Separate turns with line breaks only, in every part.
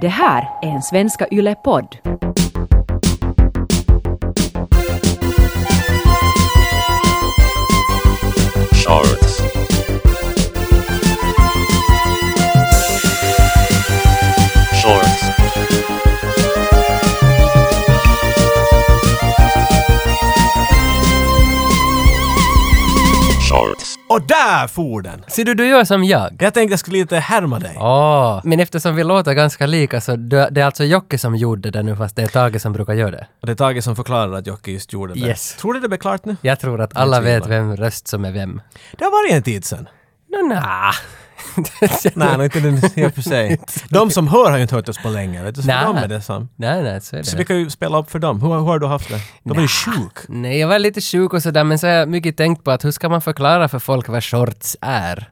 Det här är en Svenska Yle-podd.
Shorts. Shorts. Shorts.
Och där for den!
Ser du, du gör som jag.
Jag tänkte jag skulle lite härma dig. Ah.
Åh, men eftersom vi låter ganska lika så dö- det är alltså Jocke som gjorde det nu fast det är Tage som brukar göra det.
Och det är Tage som förklarar att Jocke just gjorde det.
Yes.
Tror du det blev klart nu?
Jag tror att alla
Jag
vet
tvivlar.
vem röst som är vem.
Det har varit en tid sen.
Nå, nja.
Nej, nog inte den i och för sig. De som hör har ju inte hört oss på länge, vet du. Så
Nej.
för dem är det som.
Nej, nej, så
Så
är
vi
det.
kan ju spela upp för dem. Hur, hur har du haft det? De är ju sjuk.
Nej, jag var lite sjuk och sådär men så har jag mycket tänkt på att hur ska man förklara för folk vad shorts är?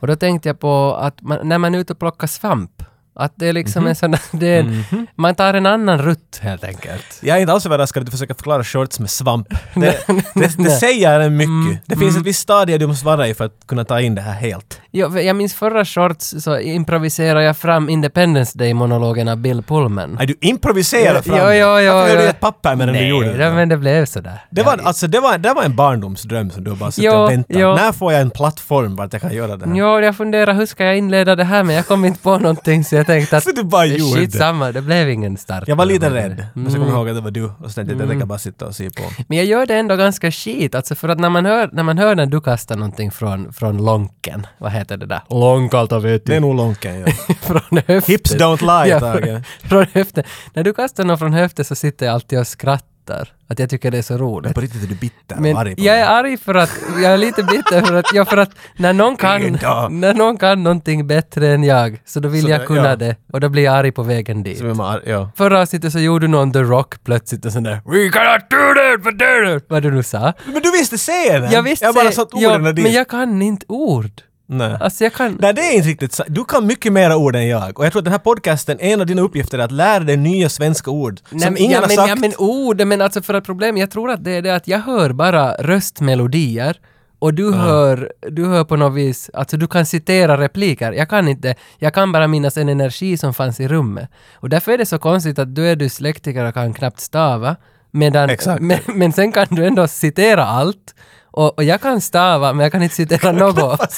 Och då tänkte jag på att man, när man är ute och plockar svamp, att det är liksom
Mhm.
en sån där, det är en, man tar en annan rutt helt enkelt.
Jag är inte alls överraskad att du försöker förklara shorts med svamp. Det, det, det säger en mycket. Det finns ett visst stadie du måste vara i för att kunna ta in det här helt.
Jag, för jag minns förra shorts så improviserade jag fram Independence Day-monologen av Bill Pullman.
Nej, du improviserar fram
Jo,
det.
jo, jo,
Varför
jo.
höll du i ett papper medan du
Nej,
gjorde
det, men det blev sådär.
Det var, alltså, det, var, det var en barndomsdröm som du bara suttit
Ja,
och väntat.
ja.
När får jag en plattform vart jag kan göra det här?
Jo, jag funderar hur ska jag inleda det här men jag kom inte på någonting så jag tänkte att...
Så du bara gjorde.
Skitsamma, det blev ingen start.
Jag var lite
Mm.
rädd, men så kom jag ihåg att det var du och så tänkte jag att jag tänker bara sitta och se på.
Men jag gör det ändå ganska skit, alltså för att när man hör när, man hör när du kastar någonting från, från lonken, vad heter det där? Långkalta vet
Det är nog Lonken, ja.
från höften.
Hips don't lie,
Ja,
Tage.
Från höften. När du kastar något från höften så sitter jag alltid och skrattar. Att jag tycker det är så roligt.
På riktigt är du bitter
Men
och arg på
jag
mig.
är arg för att, jag är lite bitter för att, ja, för att när, någon kan,
Idag.
när någon kan någonting bättre än jag så då vill
Så det-
jag kunna
ja.
det och då blir jag arg på vägen dit.
Som är man arg, ja.
Förra avsnittet så gjorde någon The Rock plötsligt en sån där “We cannot do that, but do that!” Vad du nu sa.
Men du visste scenen!
Jag visste...
jag bara satt
ja,
orden dit.
Men jag kan inte ord.
Nej.
Alltså jag kan...
Nej, det är inte riktigt sant. Du kan mycket mera ord än jag. Och jag tror att den här podcasten, en av dina uppgifter är att lära dig nya svenska ord
Nej,
som
men-
ingen
ja,
har
men,
sagt.
Ja, men ord, men alltså för att problemet, jag tror att det är det att jag hör bara röstmelodier och du hör, du hör på något vis, alltså du kan citera repliker. Jag kan inte, jag kan bara minnas en energi som fanns i rummet. Och därför är det så konstigt att du är dyslektiker och kan knappt stava. Medan,
Exakt.
men, men sen kan du ändå citera allt. Och, och jag kan stava, men jag kan inte citera något.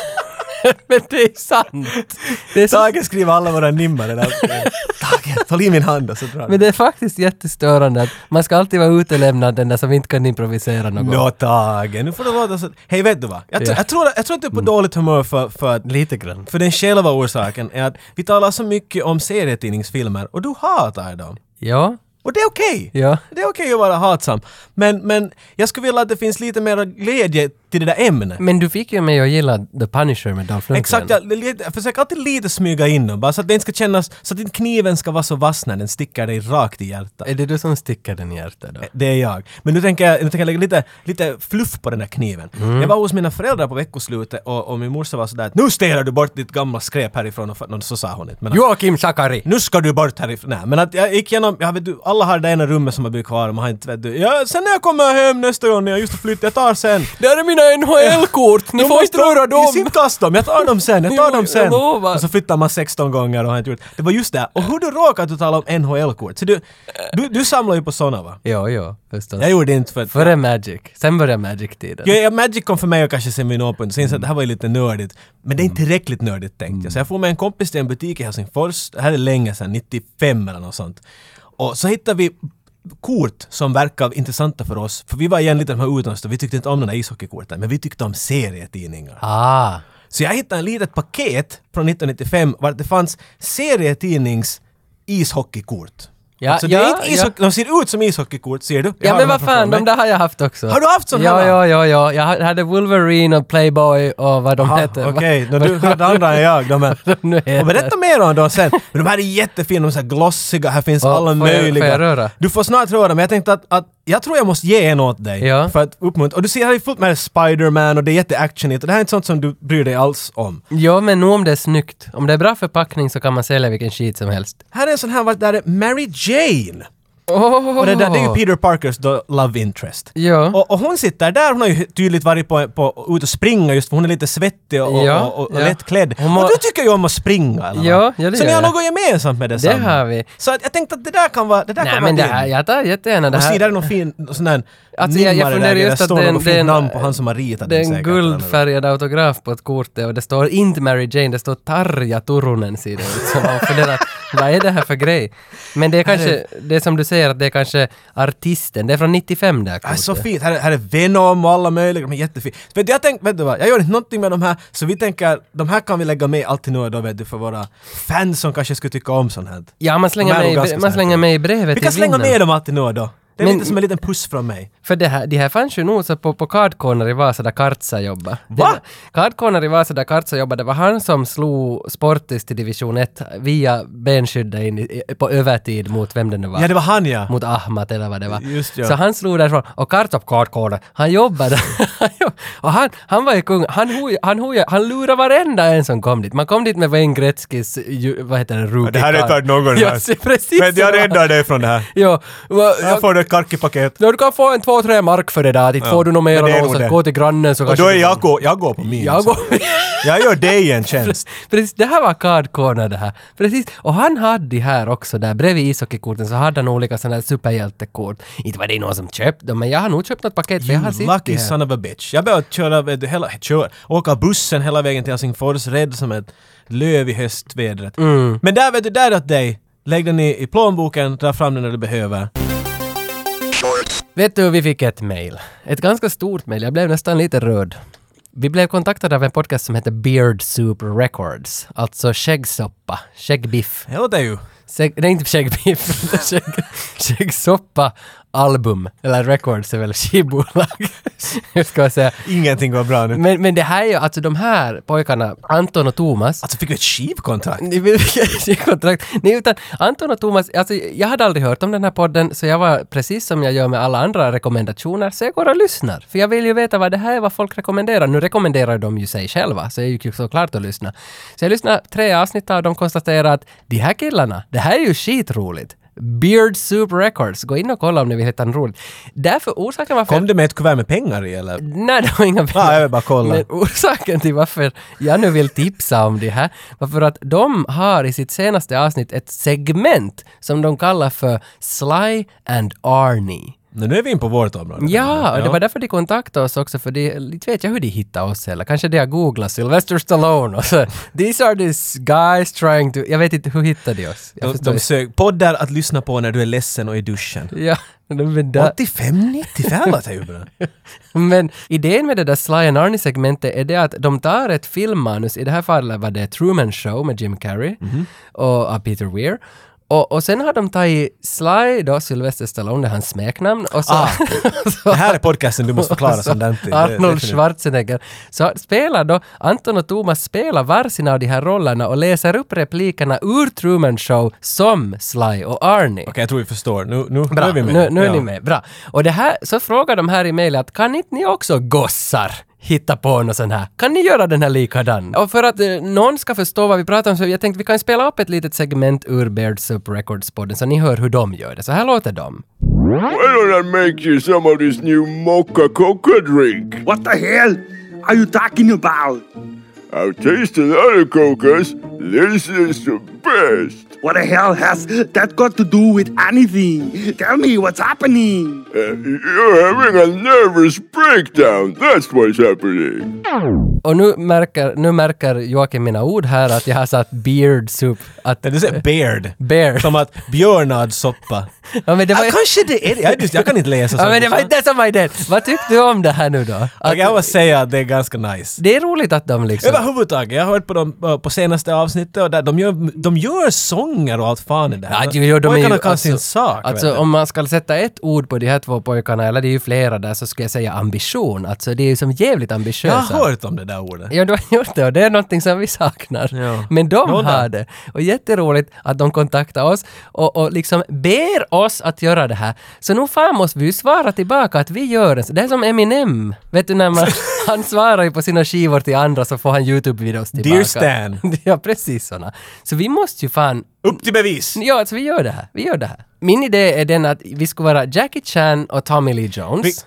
men det är sant. Det är så
Tage skriver alla våra nimmar. där. Tage, håll i min hand och så drar
Men det är faktiskt jättestörande att man ska alltid vara utelämnad den där som inte kan improvisera något.
Nå Tage, nu får du låta så. Hej vet du vad? Jag, tr-
Ja. Mm.
jag, tror, jag tror att du är på dåligt humör för, för, att-
Lite grann.
för den själva orsaken är att vi talar så mycket om serietidningsfilmer och du hatar dem.
Ja,
Och det är okej!
ja.
Det är okej att vara hatsam. Men, men jag skulle vilja att det finns lite mer glädje till det där ämnet.
Men du fick ju mig att gilla The Punisher med Dolph Lundgren.
Exakt, jag, jag försöker alltid lite smyga in dem bara så att det inte ska kännas, så att inte kniven ska vara så vass när den sticker dig rakt i hjärtat.
Är det du som sticker den i hjärtat då?
Eh, Det är jag. Men nu tänker jag, nu tänker jag lägga lite, lite fluff på den där kniven.
Mm.
Jag var hos mina föräldrar på veckoslutet och, och min morsa var sådär att nu städar du bort ditt gamla skräp härifrån och, för, och så sa hon inte. Men att,
Joakim Sakari!
nu ska du bort härifrån. Nej, men att jag gick igenom, jag vet du, alla har det ena rummet som har blivit kvar, man har inte, vet du. Ja, sen när jag kommer hem nästa gång, när jag just har flyttat, jag tar sen.
Där är mina NHL-kort! Ni får inte röra
I sin
dem!
kast dem, jag tar dem sen, jag
Jo,
tar dem
jag
sen.
lovar.
Och så flyttar man 16 gånger och har inte gjort. Det var just det. Och hur du råkade att du tala om NHL-kort. Så du, du, du samlar ju på såna va?
Ja, ja, förstås.
Jag gjorde det inte för att...
Före Magic. Sen började Magic-tiden.
Ja, ja, Magic kom för mig och kanske sen vid någon så insåg jag att det här var ju lite nördigt. Men det är inte
Mm.
tillräckligt nördigt tänkte jag. Så jag får med en kompis till en butik i Helsingfors, det här är länge sedan, 95 eller något sånt. Och så hittade vi kort som verkar intressanta för oss. För vi var igen lite de här utomstående, vi tyckte inte om de där ishockeykorten, men vi tyckte om serietidningar.
Ah!
Så jag hittade ett litet paket från 1995 vart det fanns serietidnings ishockeykort.
Ja,
alltså det
ja,
är inte ishockey, de ser ut som ishockeykort ser du. Jag
Ja
har
men
dem här
vad fan,
framför mig.
de där har jag haft också.
Har du haft sådana
Ja,
här?
ja, ja, ja. Jag hade Wolverine och Playboy och vad de
Ah,
hette.
Okej, okay. du hade andra än jag. De är.
Nu heter.
Och berätta mer om dem sen. Men de här är jättefina, de är så här glossiga, här finns
Ja,
alla
får jag-
möjliga.
får jag röra?
Du får snart röra, men jag tänkte att, att jag tror jag måste ge en åt dig.
Ja.
För att uppmuntra. Och du ser, här är fullt med Spider-Man och det är jätteactionigt och det här är inte sånt som du bryr dig alls om.
Ja, men nog om det är snyggt. Om det är bra förpackning så kan man sälja vilken skit som helst.
Här är en sån här, vart där är Mary Jane.
Oh.
Och det där, det är ju Peter Parkers då, love interest.
Ja.
Och, och hon sitter där, hon har ju tydligt varit på, på ute och springa just för hon är lite svettig och,
Ja,
och, och, och
ja.
lättklädd.
Hon må-
Och du tycker ju om att springa eller vad?
Ja, ja, det
Så ni
gör
har
jag.
något gemensamt med detsamma.
Det har vi.
Så att jag tänkte att det där kan vara, det där
Nej
kan vara
men det
din.
här, jag tar jättegärna det
Och se, där är
här.
någon fin sån där
Alltså, jag- jag
nimmare
funderar
där,
just
det
att
står
den-
något fint
den-
namn på han som har ritat
Det är
den
en
säkert. eller något.
guldfärgad autograf på ett kort där och det står inte Mary Jane, det står Tarja Turunen ser det ut som. Man funderar, vad är det här för grej? Men det är kanske, det är som du säger att det är kanske artisten, det är från 95 det här
Ah, så
kortet.
fint! Här är, här är Venom och alla möjliga, men jättefint. Vet du, jag tänkte, vet du vad, jag gör inte någonting med de här, så vi tänker, de här kan vi lägga med alltid nu och då vet du, för våra fans som kanske skulle tycka om sånt här.
Ja, man
De
slänger,
är nog
mig,
ganska
i-
så
man
här
slänger
fina.
mig i brevet
Vi kan
i
slänga
vinden.
med dem alltid nu och då. Det är
Men-
lite som en liten puss från mig.
För det här, det här fanns ju nog så på, på Card Corner i Vasa där Kartsa jobbade.
Va?
Det- Card Corner i Vasa där Kartsa jobbade, det var han som slog Sportis till division 1 via benskyddet in i, i- på övertid mot vem det nu var.
Ja, det var han ja.
mot Ahmat eller vad det var.
Just ja.
Så han slog därifrån och Kartop Kartkåda, han jobbade. Han jobb- och han, han var ju kung, han, hoj, han, hoj, han lurade varenda en som kom dit. Man kom dit med Wayne Gretzkys, ju- vad heter det, Rubicard.
det här är inte värt någon
Ja,
här.
se, precis. så.
dig från det här.
Ja, va- jag-
du ett karkipaket.
Ja, du kan få en två, tre mark för det där. Inte får du något mer
men det är
än
nog
så
det.
gå till grannen så kanske... du-
går, jag går på min.
Jag går...
jag gör dig en tjänst.
Precis, det här var Card Corner det här. Precis, och han hade de här också där bredvid ishockeykorten så hade han olika sådana här superhjältekort. Inte var det någon som köpte dem, men jag har nog köpt något paket för jag har sett
Lucky
det här.
son of a bitch. Jag behöver köra, vet du, hela, kör, åka bussen hela vägen till Helsingfors rädd som ett löv i höstvädret.
Mm.
Men där vet du, där åt dig. Lägg den i, i plånboken, dra fram den när du behöver.
Vet du, vi fick ett mejl. Ett ganska stort mejl. Jag blev nästan lite röd. Vi blev kontaktade av en podcast som heter Beard Soup Records. Alltså skäggsoppa, skäggbiff.
Det låter ju...
Skägg, nej, inte skäggbiff, utan skägg, skäggsoppa album. Eller records är väl skivbolag. Jag ska säga.
Ingenting går bra nu.
Men, men det här är ju, alltså de här pojkarna, Anton och Thomas,
Alltså fick vi ett skivkontrakt?
ni vill ge kontrakt. Nej, utan Anton och Thomas, alltså, jag hade aldrig hört om den här podden, så jag var precis som jag gör med alla andra rekommendationer, så jag går och lyssnar. För jag vill ju veta vad det här är, vad folk rekommenderar. Nu rekommenderar de ju sig själva, så jag gick ju såklart och lyssna. Så jag lyssnade tre avsnitt av dem och konstaterade att de här killarna, det här är ju skitroligt. Beard Soup Records, gå in och kolla om ni vill hitta en roligt. Därför orsaken varför...
Kom du med ett kuvert med pengar i eller?
Nej, det var inga pengar.
Ah, jag vill bara kolla.
Men orsaken till varför jag nu vill tipsa om det här var för att de har i sitt senaste avsnitt ett segment som de kallar för Sly and Arnie.
Men nu är vi in på vårt område.
Ja, och det var därför de kontaktade oss också, för de, inte vet jag hur de hittade oss heller. Kanske de har googlat Sylvester Stallone och så “These are these guys trying to...” Jag vet inte, hur hittade de oss? Jag
De,
förstår
de
inte.
sög poddar att lyssna på när du är ledsen och i duschen.
Ja, men där...
85, 95 låter ju bra.
Men idén med det där Sly and Arnie-segmentet är det att de tar ett filmmanus, i det här fallet var det Truman Show med Jim Carrey
Mhm.
och av Peter Weir. Och, och sen har de tagit Sly, då Sylvester Stallone, det är hans smeknamn, och så...
Ah.
så
Det här är podcasten du måste förklara sånt där. till. Det- det är
Arnold
för-
Schwarzenegger. Så spelar då, Anton och Thomas spelar varsina av de här rollerna och läser upp replikerna ur Truman Show som Sly och Arnie.
Okej, jag tror vi förstår. Nu, nu, nu
Bra,
är vi med.
nu, nu är ni
Ja.
med. Bra. Och det här, så frågar de här i mejlet att kan inte ni också gossar hitta på något sånt här? Kan ni göra den här likadan? Och för att eh, någon ska förstå vad vi pratar om så jag tänkte vi kan spela upp ett litet segment ur Baird Soup Records-podden så ni hör hur de gör det. Så här låter de.
Why don't I make you some of this new mocha coca drink?
What the hell are you talking about?
I've tasted other cocas. This is the best.
What the hell has that got to do with anything? Tell me what's happening.
Uh, you're having a nervous breakdown. That's what's happening.
Och nu märker, nu märker Joakim mina ord här att jag har satt Beard Soup. Att
Men Du säger beard.
Bear.
Som att björnadsoppa.
Ja, men det var,
Ja, kanske det är det. Jag, just, jag kan inte läsa
ja,
sånt.
men det var inte det som var idén. Vad tyckte du om det här nu då?
Jag
Att,
kan bara säga att det är ganska nice.
det är roligt att de liksom...
Överhuvudtaget, jag har hört på dem eh, på senaste avsnittet och där, de, gör, de gör sånger och allt fan i det här.
Ja, ju, ju, de är ju,
Alltså, Pojkarna kan sin sak. vet
alltså
du.
om man ska sätta ett ord på de här två pojkarna, eller det är ju flera där, så skulle jag säga ambition. Alltså det är ju som jävligt
jag har
ambitiösa.
hört om det där ordet.
Ja, du har gjort det och det är någonting som vi saknar.
Ja.
Men de
Någon
har
där.
det. Och jätteroligt att de kontaktar oss och, och liksom ber oss att göra det här. Så nu fan måste vi ju svara tillbaka att vi gör det. Så Det är som Eminem. Vet du när man, han svarar ju på sina skivor till andra så får han YouTube-videos tillbaka.
Dear Stan.
Ja, precis såna. Så vi måste ju fan
Upp till bevis!
Ja, alltså vi gör det här. Vi gör det här. Min idé är den att vi skulle vara Jackie Chan och Tommy Lee Jones.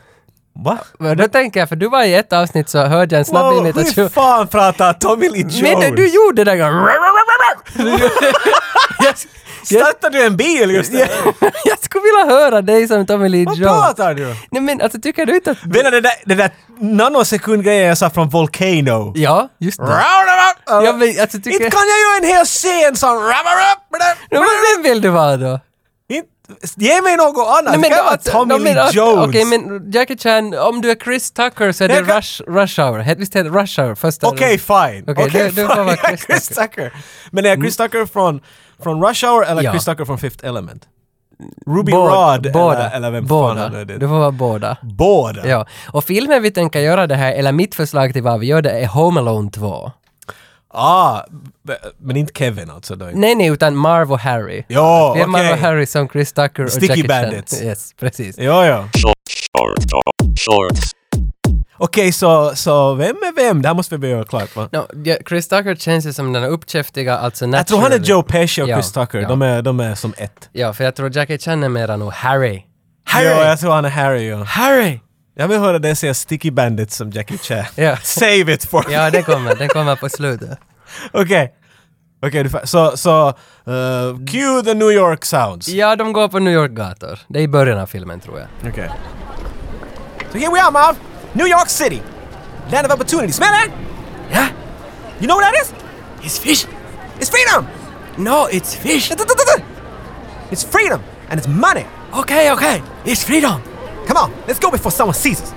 Va?
Men då tänker jag, för du var i ett avsnitt så hörde jag en snabb
Wow,
wow,
hur fan pratar Tommy Lee Jones?
Men du gjorde det där Du gjorde- jag, jag,
Startar du en bil just nu?
jag skulle vilja höra dig som Tommy Lee
Vad
Jones.
pratar du om?
Nej men alltså tycker du inte att...
Menar den där, den där nanosekundgrejen jag sa från Volcano?
Ja, just det.
Roundabout!
Ja, men alltså tycker...
Inte kan jag göra en hel scen som...
Ja, men vem vill du vara då?
Inte- Ge mig något annat!
Nej,
det Alltså, kan vara
då- alltså,
Tommy
då- men-
Lee Jones!
Okej, men Jackie Chan, om du är Chris Tucker så är det
Jag kan-
Rush, rush Hour. Het- Visst heter det Rush Hour? Första...
Okej, fine.
Okej,
Okej,
du- du får
fine.
vara
Jag är
Chris Mm.
Chris Tucker. Men är jag Chris Tucker från, från Rush Hour eller
Ja.
Chris Tucker från Fifth Element? Ruby
Båda-
Rod
båda,
eller, eller vem
båda.
fan han nu är
Du
det?
får vara båda.
Båda?
Ja, och filmen vi tänker göra det här, eller mitt förslag till vad vi gör det är Home Alone 2.
Ah, b- men inte Kevin alltså då?
Nej, nej, utan Marv och Harry.
Ja,
Vi har Marv och
okej.
Harry som Chris Tucker och
Sticky
Jackie
Bandits.
Chan. Yes, precis.
Ja, ja.
shorts, shorts,
Okej, så, så vem är vem? Det här måste vi börja göra klart va?
No, ja, Chris Tucker känns ju som den här uppkäftiga, alltså
Jag tror han är
naturally-
Joe Pesci och
Ja,
Chris Tucker.
ja.
De, är, de är som ett.
Ja, för jag tror Jackie Chan är mera nog Harry.
Harry! Ja, jag tror han är Harry ja.
Harry!
Jag vill höra dig säga Sticky Bandit som Jackie Chan.
Ja.
Save it for
Ja, det kommer, den kommer på slutet.
Okej. Okej, du fa- så, så, eh, cue the New York sounds.
Ja, de går på New York-gator. Det är i början av filmen tror jag.
Okay. So here we are, Mom. New York City. Land of opportunity. Smell that?
Yeah.
You know what that is?
It's fish!
It's freedom.
No, it's fish!
It's freedom and it's money.
Okej, okej! It's freedom!
Come on, let's go before someone sees us.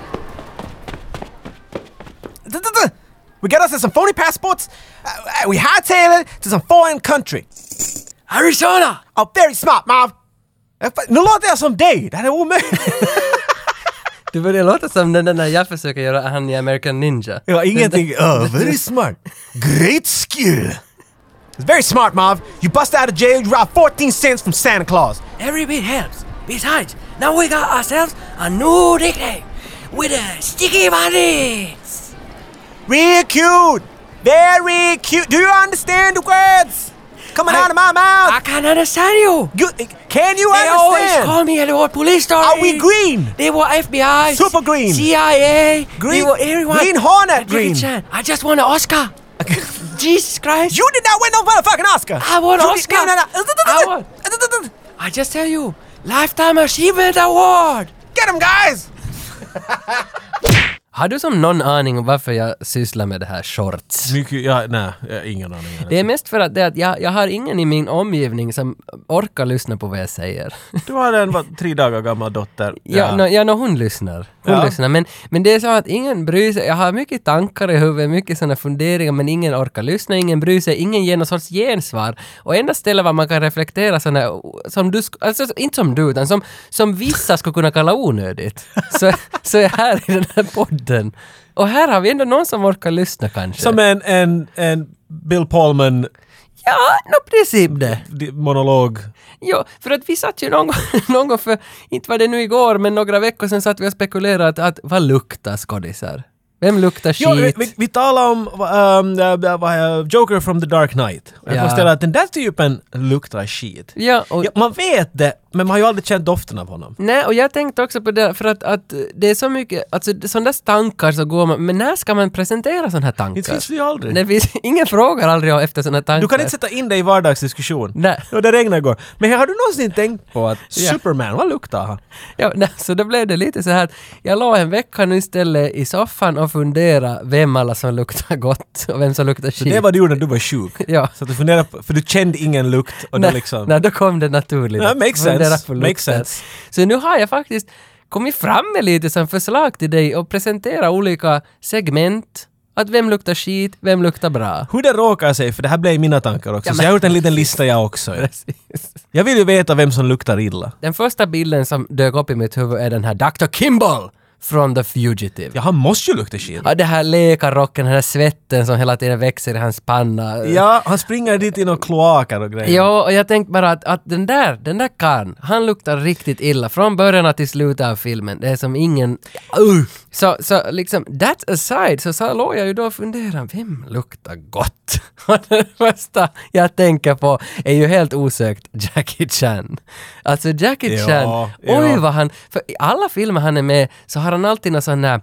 We got us in some phony passports. Uh, uh, We hightail it to some foreign country.
Arizona!
Oh, very smart, Mom. Eh, fa- Nu låter jag som dig. Det här är omöjligt.
Du börjar låta som den där jag försöker göra, han i American Ninja.
Ja, ingenting. Oh, very smart. Great skill. It's very smart, Mom. You bust out of jail, you rob 14 cents from Santa Claus.
Every bit helps. Besides, now we got ourselves a new nickname with a sticky money!
Real cute. Very cute. Do you understand the words coming out of my mouth?
can understand you!
You- can you understand?
me and they want police story!
Are we green?
They were FBI,
Super green.
CIA,
Green- Green Hornet
And Jackie
green.
Chan. I just won an Oscar. Jesus Christ!
You did not win no motherfucking Oscar.
I won
You
Oscar.
Did, no, no,
I won.
no.
I just tell you, lifetime achievement award.
Get him, guys.
Har du som någon aning om varför jag sysslar med det här shorts?
Mycket, ja, Äh, nej, jag har ingen aning.
Det är mest för att, det är att jag, jag har ingen i min omgivning som orkar lyssna på vad jag säger.
Du har en vad, tre dagar gammal dotter.
Ja, ja. No, ja nå, hon lyssnar. Hon
Ja.
lyssnar. Men, men det är så att ingen bryr sig. Jag har mycket tankar i huvudet, mycket sådana funderingar, men ingen orkar lyssna, ingen bryr sig, ingen ger någon sorts gensvar. Och enda stället var man kan reflektera sådana, som du, sk- alltså inte som du, utan som, som vissa skulle kunna kalla onödigt. Så, så är jag här i den här podden. Och här har vi ändå någon som orkar lyssna kanske.
Som en, en, en Bill Pullman
Ja, nå princip det.
di- monolog.
Ja, för att vi satt ju någon gång, någon gång för, inte var det nu igår, men några veckor sedan satt vi och spekulerade att, att vad luktar skådisar? Vem luktar skit?
Ja, vi, vi, vi talar om um, uh, uh, Joker from the Dark Knight. Jag
Ja.
konstaterar att den där typen luktar skit.
ja, och,
Ja, man vet det, men man har ju aldrig känt doften av honom.
Nej, och jag tänkte också på det, för att, att det är så mycket, alltså det- sådana där tankar så går man, men när ska man presentera sådana här tankar?
Det finns det ju aldrig.
Det finns, ingen frågar aldrig om efter sådana tankar.
Du kan inte sätta in dig i vardagsdiskussion.
Nej.
Och det regnade igår. Men har du någonsin tänkt på att
Ja.
Superman, vad luktar han?
Ja, nej, så då blev det lite så här att jag låg en vecka nu istället i soffan och funderade vem alla som luktar gott och vem som luktar
Så
skit.
det var du gjorde när du var sjuk.
Ja.
Så att du funderade på, för du kände ingen lukt och
nej,
du liksom...
nej, då kom det naturligt.
Ja, makes sense.
Fundera på
Makes
lukten.
sense.
Så nu har jag faktiskt kommit fram med lite som förslag till dig och presentera olika segment. Att vem luktar skit, vem luktar bra.
Hur det råkar sig, för det här blev mina tankar också, så jag har gjort en liten lista jag också.
Precis.
Jag vill ju veta vem som luktar illa.
Den första bilden som dök upp i mitt huvud är den här Dr. Kimball från The Fugitive.
Ja, han måste ju lukta skit.
Ja, det här lekarrocken, den här svetten som hela tiden växer i hans panna.
Ja, han springer dit i några kloaker och grejer.
Jo, och jag tänkte bara att, att den där, den där karln, han luktar riktigt illa från början till slutet av filmen. Det är som ingen... Uh. Så, så liksom, that aside, så, så låg jag ju då och funderade, vem luktar gott? Och det första jag tänker på är ju helt osökt Jackie Chan. Alltså Jackie
Ja,
Chan, oj
ja.
vad han... För i alla filmer han är med så har han alltid någon sån här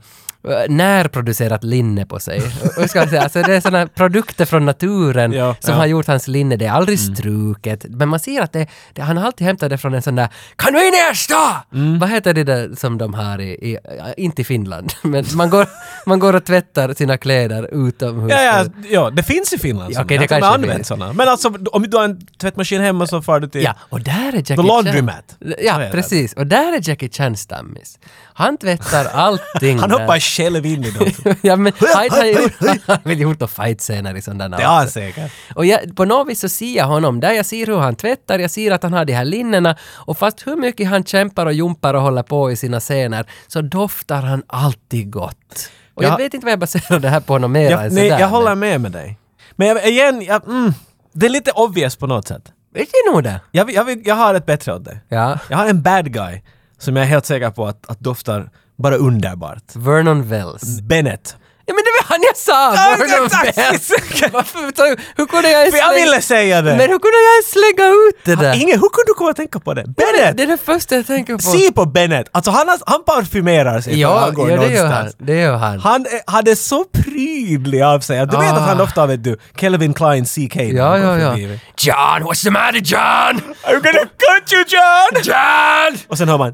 eh, närproducerat linne på sig. Och ska jag säga, alltså det är sådana produkter från naturen
Ja,
som
ja.
har gjort hans linne. Det är aldrig
Mm.
struket. Men man ser att det, det, han har alltid hämtat det från en sån där kanuinersta!
Mm.
Vad heter det där som de har i, i ja, inte i Finland, men man går, man går och tvättar sina kläder utomhus.
Ja, ja, ja, det finns i Finland
Ja,
såna.
okej, det
Jag tror man
kanske
använder
finns.
såna. Men alltså, om du har en tvättmaskin hemma så far du till...
Ja, och där är Jackie
The Laundromat.
Chan.
Så
Ja,
är det.
precis. Och där är Jackie Chan stammis. Han tvättar allting
Han
där.
hoppar själv in i dem.
ja men fight har jag gjort, han har väl gjort några fight-scener i sådana
Det har han säkert.
Och jag, på något vis så ser jag honom där, jag ser hur han tvättar, jag ser att han har de här linnena och fast hur mycket han kämpar och jumpar och håller på i sina scener så doftar han alltid gott. Och jag,
Jag-
vet inte vad jag baserar det här på något mer
Jag,
än
nej,
sådär.
jag håller med med dig. Men jag, igen, jag, mm, det är lite obvious på något sätt.
men, det är nog det.
Jag, vill- jag, vill- jag har ett bättre åt dig.
Ja.
Jag har en bad guy som jag är helt säker på att, att doftar bara underbart.
Vernon Wells.
Bennett.
Ja men det var han jag sa!
Ja,
Vernon
exakt.
Wells! Varför, tar du- hur kunde jag ens
För jag
slänga-
ville säga det!
Men hur kunde jag ens slänga ut det där?
Ingen, hur kunde du komma att tänka på det? Bennett!
Det är det första jag tänker på.
Se på Bennett! Alltså han, har- han parfymerar sig när
ja,
han går
ja, det gör han.
någonstans.
Det gör han.
Han är- hade så prydlig av sig. Du vet
Ah.
att han ofta vet du, Kelvin Klein CK. när
Ja,
han går
ja, ja.
förbi.
John, what's the matter John?
I'm gonna cut you John!
John!
Och sen hör man...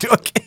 du, okay.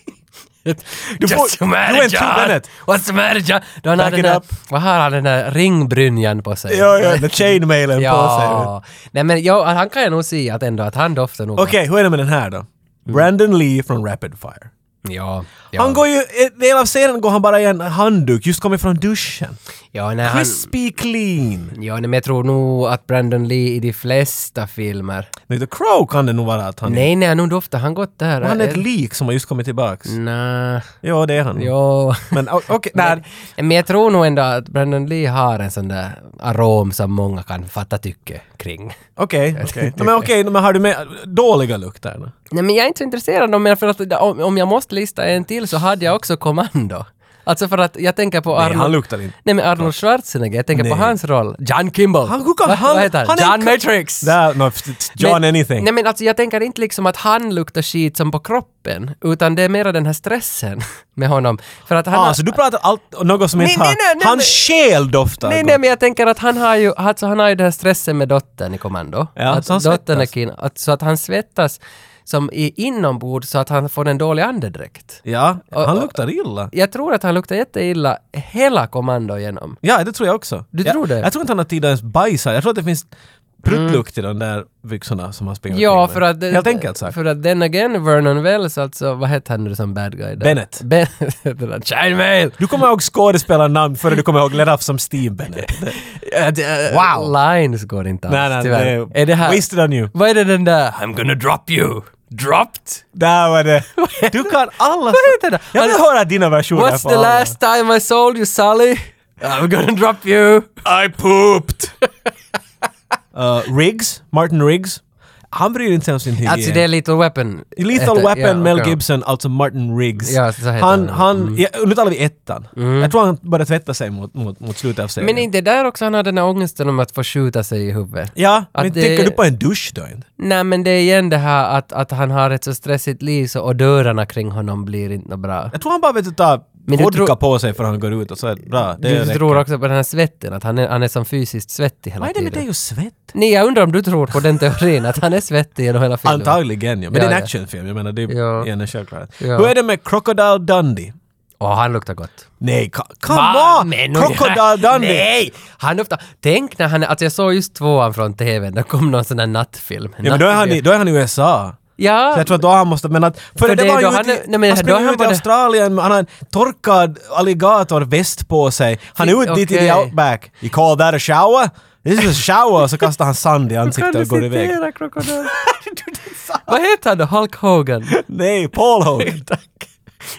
Du får-
Just the matter,
du är en true
John?
Bennett.
What's the matter John? Då han har
Back
den
it
där,
up.
vad har han den där ringbrynjan på sig?
Ja, ja, med chainmailen på sig.
ja. Nej men jo, han kan jag nog se att ändå att han doftar nog.
Okej, hur är det med den här då? Brandon Lee från Rapid Fire.
Ja, ja.
Han går ju, en del av scenen går han bara i en handduk, just kommit från duschen.
ja, nej, han,
Crispy clean.
ja, nej, men jag tror nog att Brandon Lee i de flesta filmer.
Nej, The Crow kan det nog vara att han är.
Nej, nej, nog doftar han gott där. Eh,
Han är ett lik som har just kommit tillbaks.
Mm. Nej,
Ja, det är han.
jo.
Men o- okej,
Mm. Men,
nej.
men jag tror nog ändå att Brandon Lee har en sån där arom som många kan fatta tycke kring.
Okej, okej. Nej, Men okej, men har du med dåliga lukter? då?
Nej men jag är inte så intresserad av mer för att om, om jag måste lista en till så hade jag också kommando. Alltså för att jag tänker på
Nej,
Arnold...
han luktar inte.
Nej men Arnold Schwarzenegger, jag tänker på
Nej.
hans roll. John Kimball.
Han- hur kan
Va-
han-
Vad heter han?
han är
John
en-
Matrix!
Där, no, f- it's John
men,
anything.
Nej men alltså jag tänker inte liksom att han luktar skit som på kroppen, utan det är mera den här stressen med honom. För att han
ah,
har-
så du pratar allt om något som
Nej,
inte
nej,
har...
nej, nej,
Hans
nej.
själ doftar
Nej,
gott.
nej, men jag tänker att han har ju, alltså han har ju den här stressen med dottern i kommando.
Ja,
att
så han
dottern är
svettas.
kin, att, så att han svettas som i inombords så att han får en dålig andedräkt.
Ja, han
och-
luktar illa.
Jag tror att han luktar jätteilla hela kommando igenom.
Ja, det tror jag också.
Du
jag,
tror det?
Jag tror inte han har tid att ens bajsa. Jag tror att det finns pruttlukt i de där byxorna som han springer
Mm. Ja,
omkring med.
för att...
Helt enkelt sagt.
För att den again, Vernon Wells, alltså, vad hette han nu som bad guy? Där?
Bennett.
Ben, det där, Childmail!
Du kommer ihåg skådespelarnamn före du kommer ihåg Lenaf som Steve Bennett.
Wow! Lines går inte alls,
nej, nej,
tyvärr.
det
är det här...
Wasted on you.
Vad är det den där? I'm gonna drop you! Dropped?
Där var det. Du kan alla...
heter det?
Jag vill
Han-
höra dina versioner
What's
på
the
alla.
last time I sold you, Sally? I'm gonna drop you.
I pooped! uh, Riggs, Martin Riggs. Han bryr inte sig om sin hygien.
Alltså det är Little Weapon.
Lethal
Heter-
Weapon,
ja,
Mel
okej.
Gibson, alltså Martin Riggs.
Ja, så heter
han,
han. Mm.
han, ja, nu talar vi ettan. Jag tror han började tvätta sig mot, mot, mot slutet av serien.
Men inte där också han hade den här ångesten om att få skjuta sig i huvudet.
ja,
Att
men
det-
tänker du på en dusch då inte?
Nej men det är igen det här att, att han har ett så stressigt liv så, och dörrarna kring honom blir inte nå bra.
Jag tror han bara vet du tar
Men du
vodka
tror-
på sig för han går ut och så är det bra. Det
Du
räcker.
tror också på den här svetten, att han är, han är som fysiskt svettig hela
Vad är det med
tiden.
dig och svett?
Nej, jag undrar om du tror på den teorin, att han är svettig genom hela filmen.
Antagligen ja, men det
Ja,
är en
ja.
actionfilm. Jag menar, det är
Ja.
ja. en självklarhet.
Ja.
Hur är det med Crocodile Dundee?
Åh, han luktar gott.
Nej, co- come
Va?
on!
Men-
Crocodile Dundee!
Nej! Han ofta, tänk när han, alltså jag såg just tvåan från TVn, det kom någon sån där nattfilm.
Ja, men då är, han i,
Nattfilm.
då är han i USA.
Ja,
Så jag tror att då han måste, men att... För,
För
det,
det är
var
då
ju
han
han,
är- nej, men
han
då
springer
han
ut i
var det-
Australien, han har en torkad alligatorväst på sig. Han är ute dit i the
Okej.
outback. You call that a shower? This is a shower! Och så kastar han sand i
Kan
ansiktet
du
och går iväg.
citera Crocodile? Vad heter han då? Hulk Hogan?
Nej, Paul Hogan!
Tack.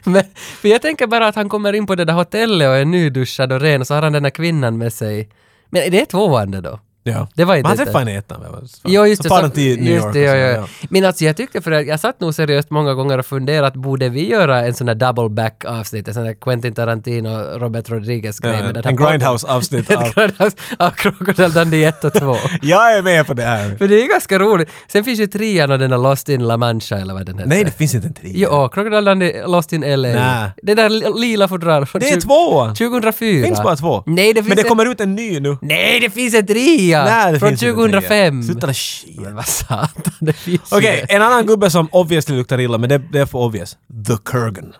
Men, för jag tänker bara att han kommer in på det där hotellet och är nyduschad och ren och så har han den där kvinnan med sig. Men det är tvåande då?
Ja.
Det var inte
Men han
det.
träffade henne i ettan. väl? Så-
Jo, just
så
det.
far de till New
just
York.
det,
och
ja,
så,
ja. Men alltså jag tyckte för att jag satt nog seriöst många gånger och funderat, borde vi göra en sån där double back avsnitt, en sån där Quentin Tarantino, Robert Rodriguez grej
Ja,
med
en
den här
Grindhouse-avsnitt
Ett
av-
Grindhouse av Crocodile Dundee 1 och 2.
Jag är med på det här!
För det är ganska roligt. Sen finns ju trean och den där Lost in La Mancha eller vad den heter.
Nej, det finns inte en trea.
Jo, Crocodile Dundee, Lost in LA.
Nä.
Det där li- lila fodralet från
Det är
tju-
tvåan.
2004.
finns bara två.
Nej, det finns
Men det
en-
kommer ut en ny nu.
Nej, det finns en trea!
Nej, det
från
finns inte en
2005.
trea. Sluta det shit.
Men vad satan, det finns ju
Okej,
det.
en annan gubbe som obviously luktar illa, men det, det är för obvious. The Kurgan.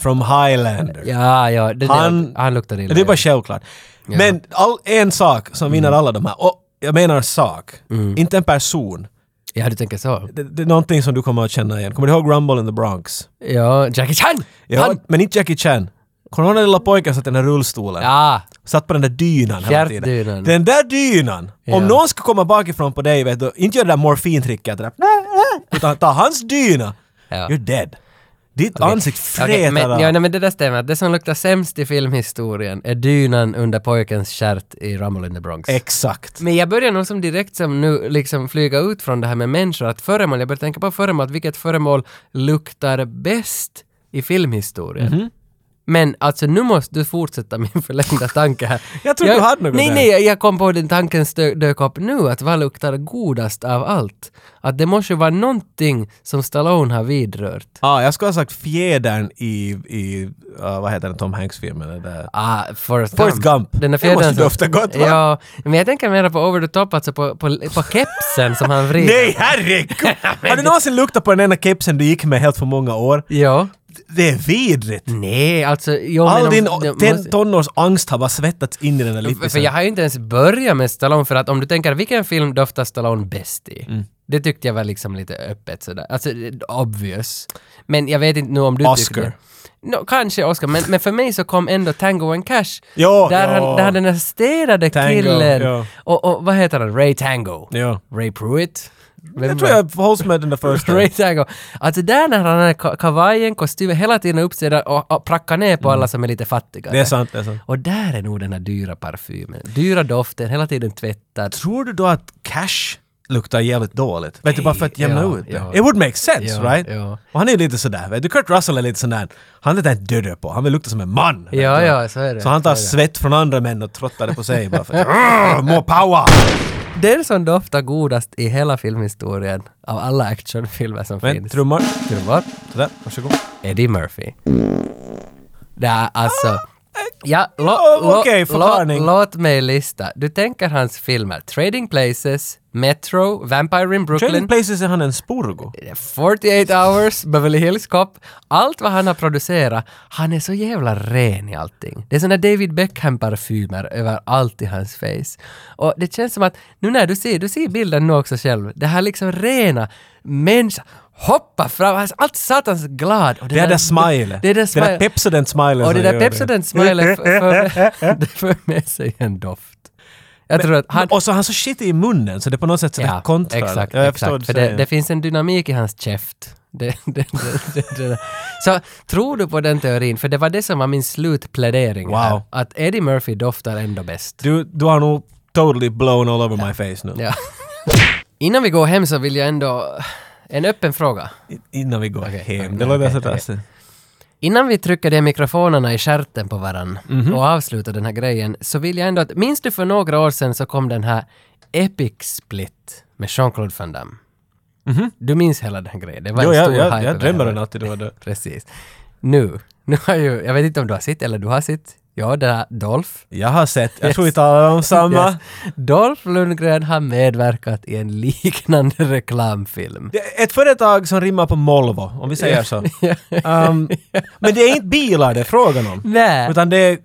From Highlander.
Ja, ja. Den han,
Han-
han luktar illa.
Det är
ja.
bara självklart. Men all, en sak som vinner alla de här, och jag menar sak, inte en person.
Ja, du tänker så.
Det, det är någonting som du kommer att känna igen. Kommer du ihåg Rumble in the Bronx?
Ja, Jackie Chan!
Ja,
Han,
men inte Jackie Chan. Kommer du ihåg den lilla pojken satt i den här rullstolen?
ja,
Satt på den där dynan hela
Fjärrdynan.
tiden. Den där dynan!
Ja.
Om någon skulle komma bakifrån på dig, vet du, inte gör det där morfintricket, det där, utan ta hans dyna.
Ja.
You're dead. Ditt ansikte frätar
Okej, men,
av.
ja, nej, men det där stämmer. Det som luktar sämst i filmhistorien är dynan under pojkens stjärt i Rumble in the Bronx.
Exakt.
men jag börjar nog som direkt som nu liksom flyga ut från det här med människor, att föremål, jag börjar tänka på föremål, att vilket föremål luktar bäst i filmhistorien?
Mhm.
Men alltså nu måste du fortsätta min förlängda tanke här.
Jag trodde du hade något
Nej,
där.
nej, jag- jag kom på den tanken stö- dök upp nu, att vad luktar godast av allt? Att det måste ju vara någonting som Stallone har vidrört.
Ah, jag skulle ha sagt fjädern i, i ah, vad heter den, Tom Hanks-filmen? det där.
Ah, Forrest,
Forrest Gump.
Den där
Det
fjädern
måste
som-
dofta gott, va?
Ja, men jag tänker mera på over the top, alltså på, på, på kepsen som han vrider.
Nej, herregud! Har du någonsin luktat på den enda kepsen du gick med helt för många år?
Ja.
Det är vidrigt!
Nej, alltså... Jo, men
All
om-
din
det
ten,
måste-
tonårsangst har bara svettats in i den där
För
lippisen.
jag har ju inte ens börjat med Stallone, för att om du tänker vilken film doftar Stallone bäst i?
Mm.
Det tyckte jag var liksom lite öppet sådär. Alltså, det- obvious. Men jag vet inte nu om du tyckte...
Oscar.
No, kanske Oscar, men, men för mig så kom ändå Tango and Cash.
Ja,
där,
ja.
Han, där han den här städade
Tango,
killen.
ja.
Och, och vad heter han? Ray Tango.
Ja.
Ray Pruitt. Vem
Jag tror
var-
jag hålls med den där första.
Ray Tango. Alltså där när han har ka- kavajen, kostymen, hela tiden uppsida och, och prackar ner på alla som är lite fattigare.
Mm. Det är sant, det är sant.
Och där är nog den här dyra parfymen. Dyra doften, hela tiden tvättad.
Tror du då att cash luktar jävligt dåligt? Vet du, bara för att jämna
ja,
ut det.
ja.
It would make sense,
Ja,
right?
ja.
Och han är ju lite sådär, vet du. Kurt Russell är lite sådär, han är lite dödö på. Han vill lukta som en man. vet
Ja,
du.
ja, så är det.
Så han tar
Så är det.
svett från andra män och trottar det på sig bara för att "Arr, more power!
Den som doftar godast i hela filmhistorien av alla actionfilmer som
Men
finns.
trummor,
Trummor.
sådär, varsågod.
Eddie Murphy. Nej, alltså.
Ah!
Ja, lo,
ja,
lo,
okej,
lo,
förklaring.
låt mig lista. Du tänker hans filmer Trading Places, Metro, Vampire in
Trading
Brooklyn,
Places är han en spurgo.
48 hours, Beverly Hills Cop. Allt vad han har producerat, han är så jävla ren i allting. Det är såna David Beckham-parfymer överallt i hans face. Och det känns som att, nu när du ser, du ser bilden nu också själv, det här liksom rena, människa hoppar fram, han är allt satans glad. Och
Det är
där-
det smilet.
Det är det
Det där
smilet.
Pepsodent-smilet
Och
som
det där
gör det.
Pepsodent-smilet för, för, det för med sig en doft. Jag tror att han...
Och så han så shit i munnen så det är på något sätt sådär
Ja,
ja, kontra.
exakt,
ja, jag förstår
exakt. För
vad du
det,
säger.
det finns en dynamik i hans käft. Det, det, det, det, det. Så tror du på den teorin? För det var det som var min slutplädering här.
Wow.
Att Eddie Murphy doftar ändå bäst.
du, du har nog totally blown all over my face nu.
Ja. Innan vi går hem så vill jag ändå... En öppen fråga.
I- Innan vi går hem. Det
okej,
låter så
okej.
taskigt.
Innan vi trycker de mikrofonerna i stjärten på varann
Mhm.
och avslutar den här grejen så vill jag ändå att... Minns du för några år sedan så kom den här Epic Split med Jean-Claude Van Damme? Du minns hela den här grejen? Det var
Mhm. Jo,
en
jag,
stor hype
jag,
över
jag drömmer
hela-
den alltid då och då.
Precis. Nu, nu har ju, jag vet inte om du har sett eller du har sett, ja det här Dolph.
Jag har sett, jag
Yes.
tror vi talar om samma.
Yes. Dolph Lundgren har medverkat i en liknande reklamfilm.
Det är ett företag som rimmar på Volvo, om vi säger så. Ehm, men det är inte bilar det är frågan om.
Nej.
Utan det är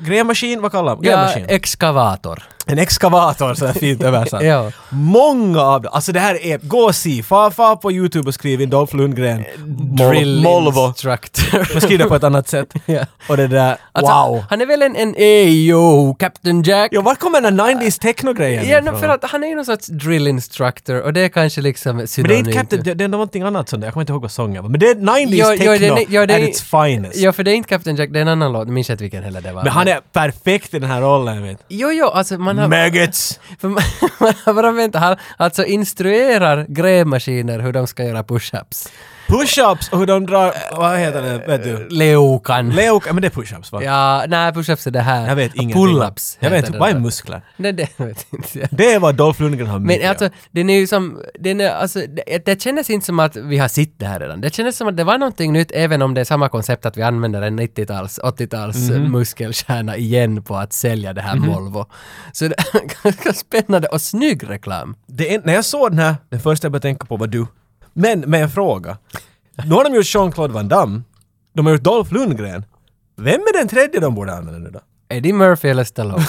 grävmaskin, vad kallar man
Ja,
Grävmaskin.
exkavator.
En exkavator, så här fint översatt.
Ja.
Många av dem. Alltså det här är... Gå och se. Far, far på YouTube och skriv in Dolph Lundgren. Mol-
Drill
Molvo.
instructor.
Men skriv det på ett annat sätt.
Ja.
Och det där...
Alltså,
wow.
Han är väl en, en Ayo, Captain Jack?
Ja, var kommer den här 90s techno-grejen
Ja, no,
ifrån?
för att han är ju någon sorts drill instructor och det är kanske liksom
Men det är inte
synonymt.
Captain... Det, det är någonting annat sånt där. Jag kommer inte ihåg vad sången var. Men det är 90s
Ja,
techno
ja, det- ja, det-
at its finest.
Ja, för det är inte Captain Jack, det är en annan låt. Jag minns inte vilken heller det var.
Men han är Mm. perfekt i den här rollen, vet du.
Jo, jo, alltså man har...
Maggots!
För man, man har bara väntat. Han alltså instruerar grävmaskiner hur de ska göra push-ups.
Push-ups och hur de drar... Vad heter det? Vet du?
Leukan.
Leo... Men det är push-ups, va?
ja, nej, push-ups är det här.
Jag vet ingenting.
Pull-ups
Jag
heter
vet inte.
det
Vad är
där.
muskler?
Nej, det vet inte jag.
Det är vad Dolph Lundgren har mycket
Men
av.
alltså, den är ju som, den är, alltså, det, det kändes inte som att vi har sett det här redan. Det kändes som att det var någonting nytt, även om det är samma koncept att vi använder en 90-tals, 80-tals
Mhm.
muskelkärna igen på att sälja det här Volvo. Så det är ganska spännande och snygg reklam.
det är, när jag såg den här, det första jag började tänka på var du. Men med en fråga. Nu har de gjort Jean-Claude Van Damme. De har gjort Dolph Lundgren. Vem är den tredje de borde använda nu då?
Eddie Murphy eller Stallone?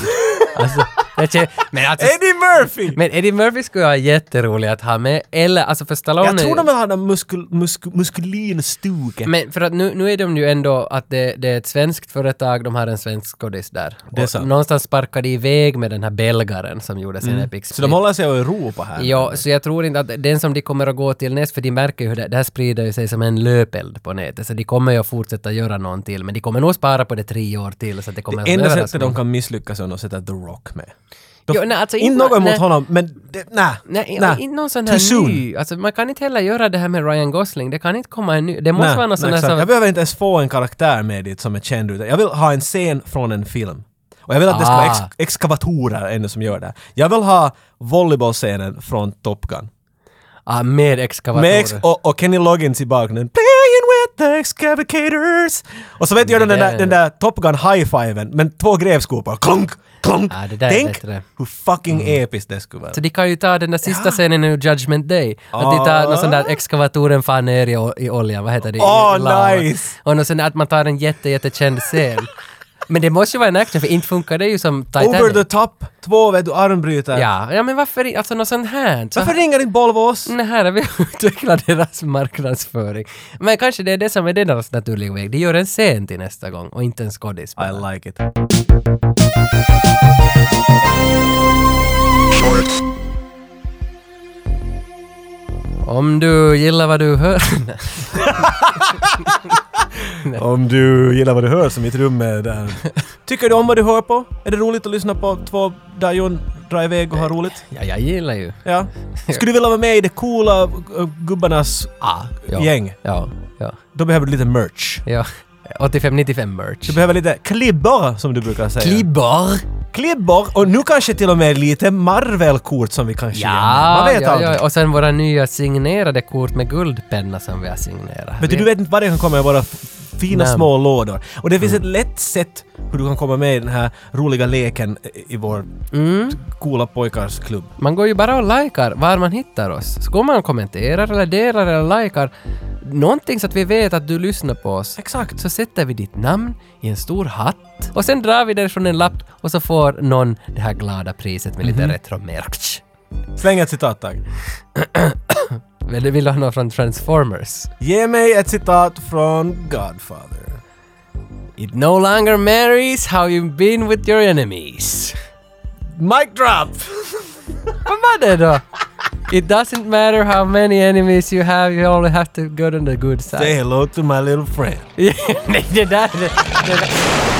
alltså, det kän, men alltså,
Eddie Murphy!
men Eddie Murphy skulle vara jätterolig att ha med, eller alltså för Stallone...
jag tror
är-
de vill ha den muskul, muskul, muskulinstuket.
Men för att nu, nu är de ju ändå att det, det är ett svenskt företag, de har en svensk skådis där.
Det är
Och
sant.
Någonstans sparkade de iväg med den här belgaren som gjorde sin Epic Split.
Mm. Så de håller sig i Europa här.
Ja, så jag tror inte att den som de kommer att gå till näst, för de märker ju hur det, det här sprider ju sig som en löpeld på nätet, så de kommer ju att fortsätta göra någon till, men de kommer nog spara på det tre år till, så att det kommer
det
en
enda sättet
överraskning.
de kan misslyckas är att sätta The Rock med. De,
Jo, nej, alltså
inte
inte-
något emot
nej.
honom, men det, nej.
Nej, inte någon sån
Too
här
soon.
ny. Alltså, man kan inte heller göra det här med Ryan Gosling. Det kan inte komma en ny. Det måste
Nej,
vara någon
nej,
sån här
exakt.
som...
Jag behöver inte ens få en karaktär med dit som är känd utan jag vill ha en scen från en film. Och jag vill att det ska vara
Ah.
ex- exkavatorer ännu som gör det. Jag vill ha volleybollscenen från Top Gun.
Ah, med exkavatorer.
Med ex- och, och Kenny Loggins i bakgrunden. Playing with the excavators! Och så vet jag den
Det
där,
där-
den där Top Gun high-fiven, men två grävskopor. Klunk, klunk.
Ah, det där är
Tänk
bättre. Mm.
hur fucking episkt det skulle vara.
Så de kan ju ta den där sista scenen ur Judgment Day. Att de tar någon sån där
Ah.
exkavatoren fan ner i, o- i olja, vad heter det? I-
Åh,
i lava.
Ah, nice!
Och någon sån där att man tar en jätte, jättekänd scen. Men det måste ju vara en action, för inte funkar det ju som Titanic.
Over the top, två vet du armbrytare.
Ja, ja men varför i- alltså något sånt här? Så
Varför ringer inte Volvo oss?
Nej, här har vi utvecklat deras marknadsföring. Men kanske det är det som är deras naturliga väg. De gör en scen till nästa gång och inte en skådis.
I like it.
Mm. Om du gillar vad du hör...
Om du gillar vad du hör så mitt rum är där. Tycker du om vad du hör på? Är det roligt att lyssna på två Dion dra iväg och ha roligt?
ja, jag gillar ju.
Ja. Skulle du vilja vara med i det coola äh, gubbarnas
Ja.
Ah, gäng?
Ja, ja,
Då behöver du lite merch.
ja. 85-95 merch.
Du behöver lite klibbor som du brukar säga.
Klibbar!
klibbor och nu kanske till och med lite Marvel-kort som vi kanske
Ja,
Man vet
ja,
aldrig.
ja, och sen våra nya signerade kort med guldpenna som vi har signerat.
Vet du, du vet inte vad det kan komma i våra f- fina
Nej. Mm.
små lådor. Och det finns ett lätt sätt hur du kan komma med i den här roliga leken i- i vår
Mm.
coola pojkars klubb.
Man går ju bara och likar var man hittar oss. Så går man och kommenterar eller delar eller likar någonting så att vi vet att du lyssnar på oss.
Exakt.
Så sätter vi ditt namn i en stor hatt och sen drar vi den från en lapp och så får någon det här glada priset med
Mhm.
lite retromerch.
Släng ett citat tack.
Vill du- vill du ha någon från Transformers?
Ge mig ett citat från Godfather.
It no longer marries how you've been with your enemies.
Mic drop!
Vad var det då? It doesn't matter how many enemies you have, you only have to go to the good
Say
side.
hello to my little friend.
Nej, det där... Det, det,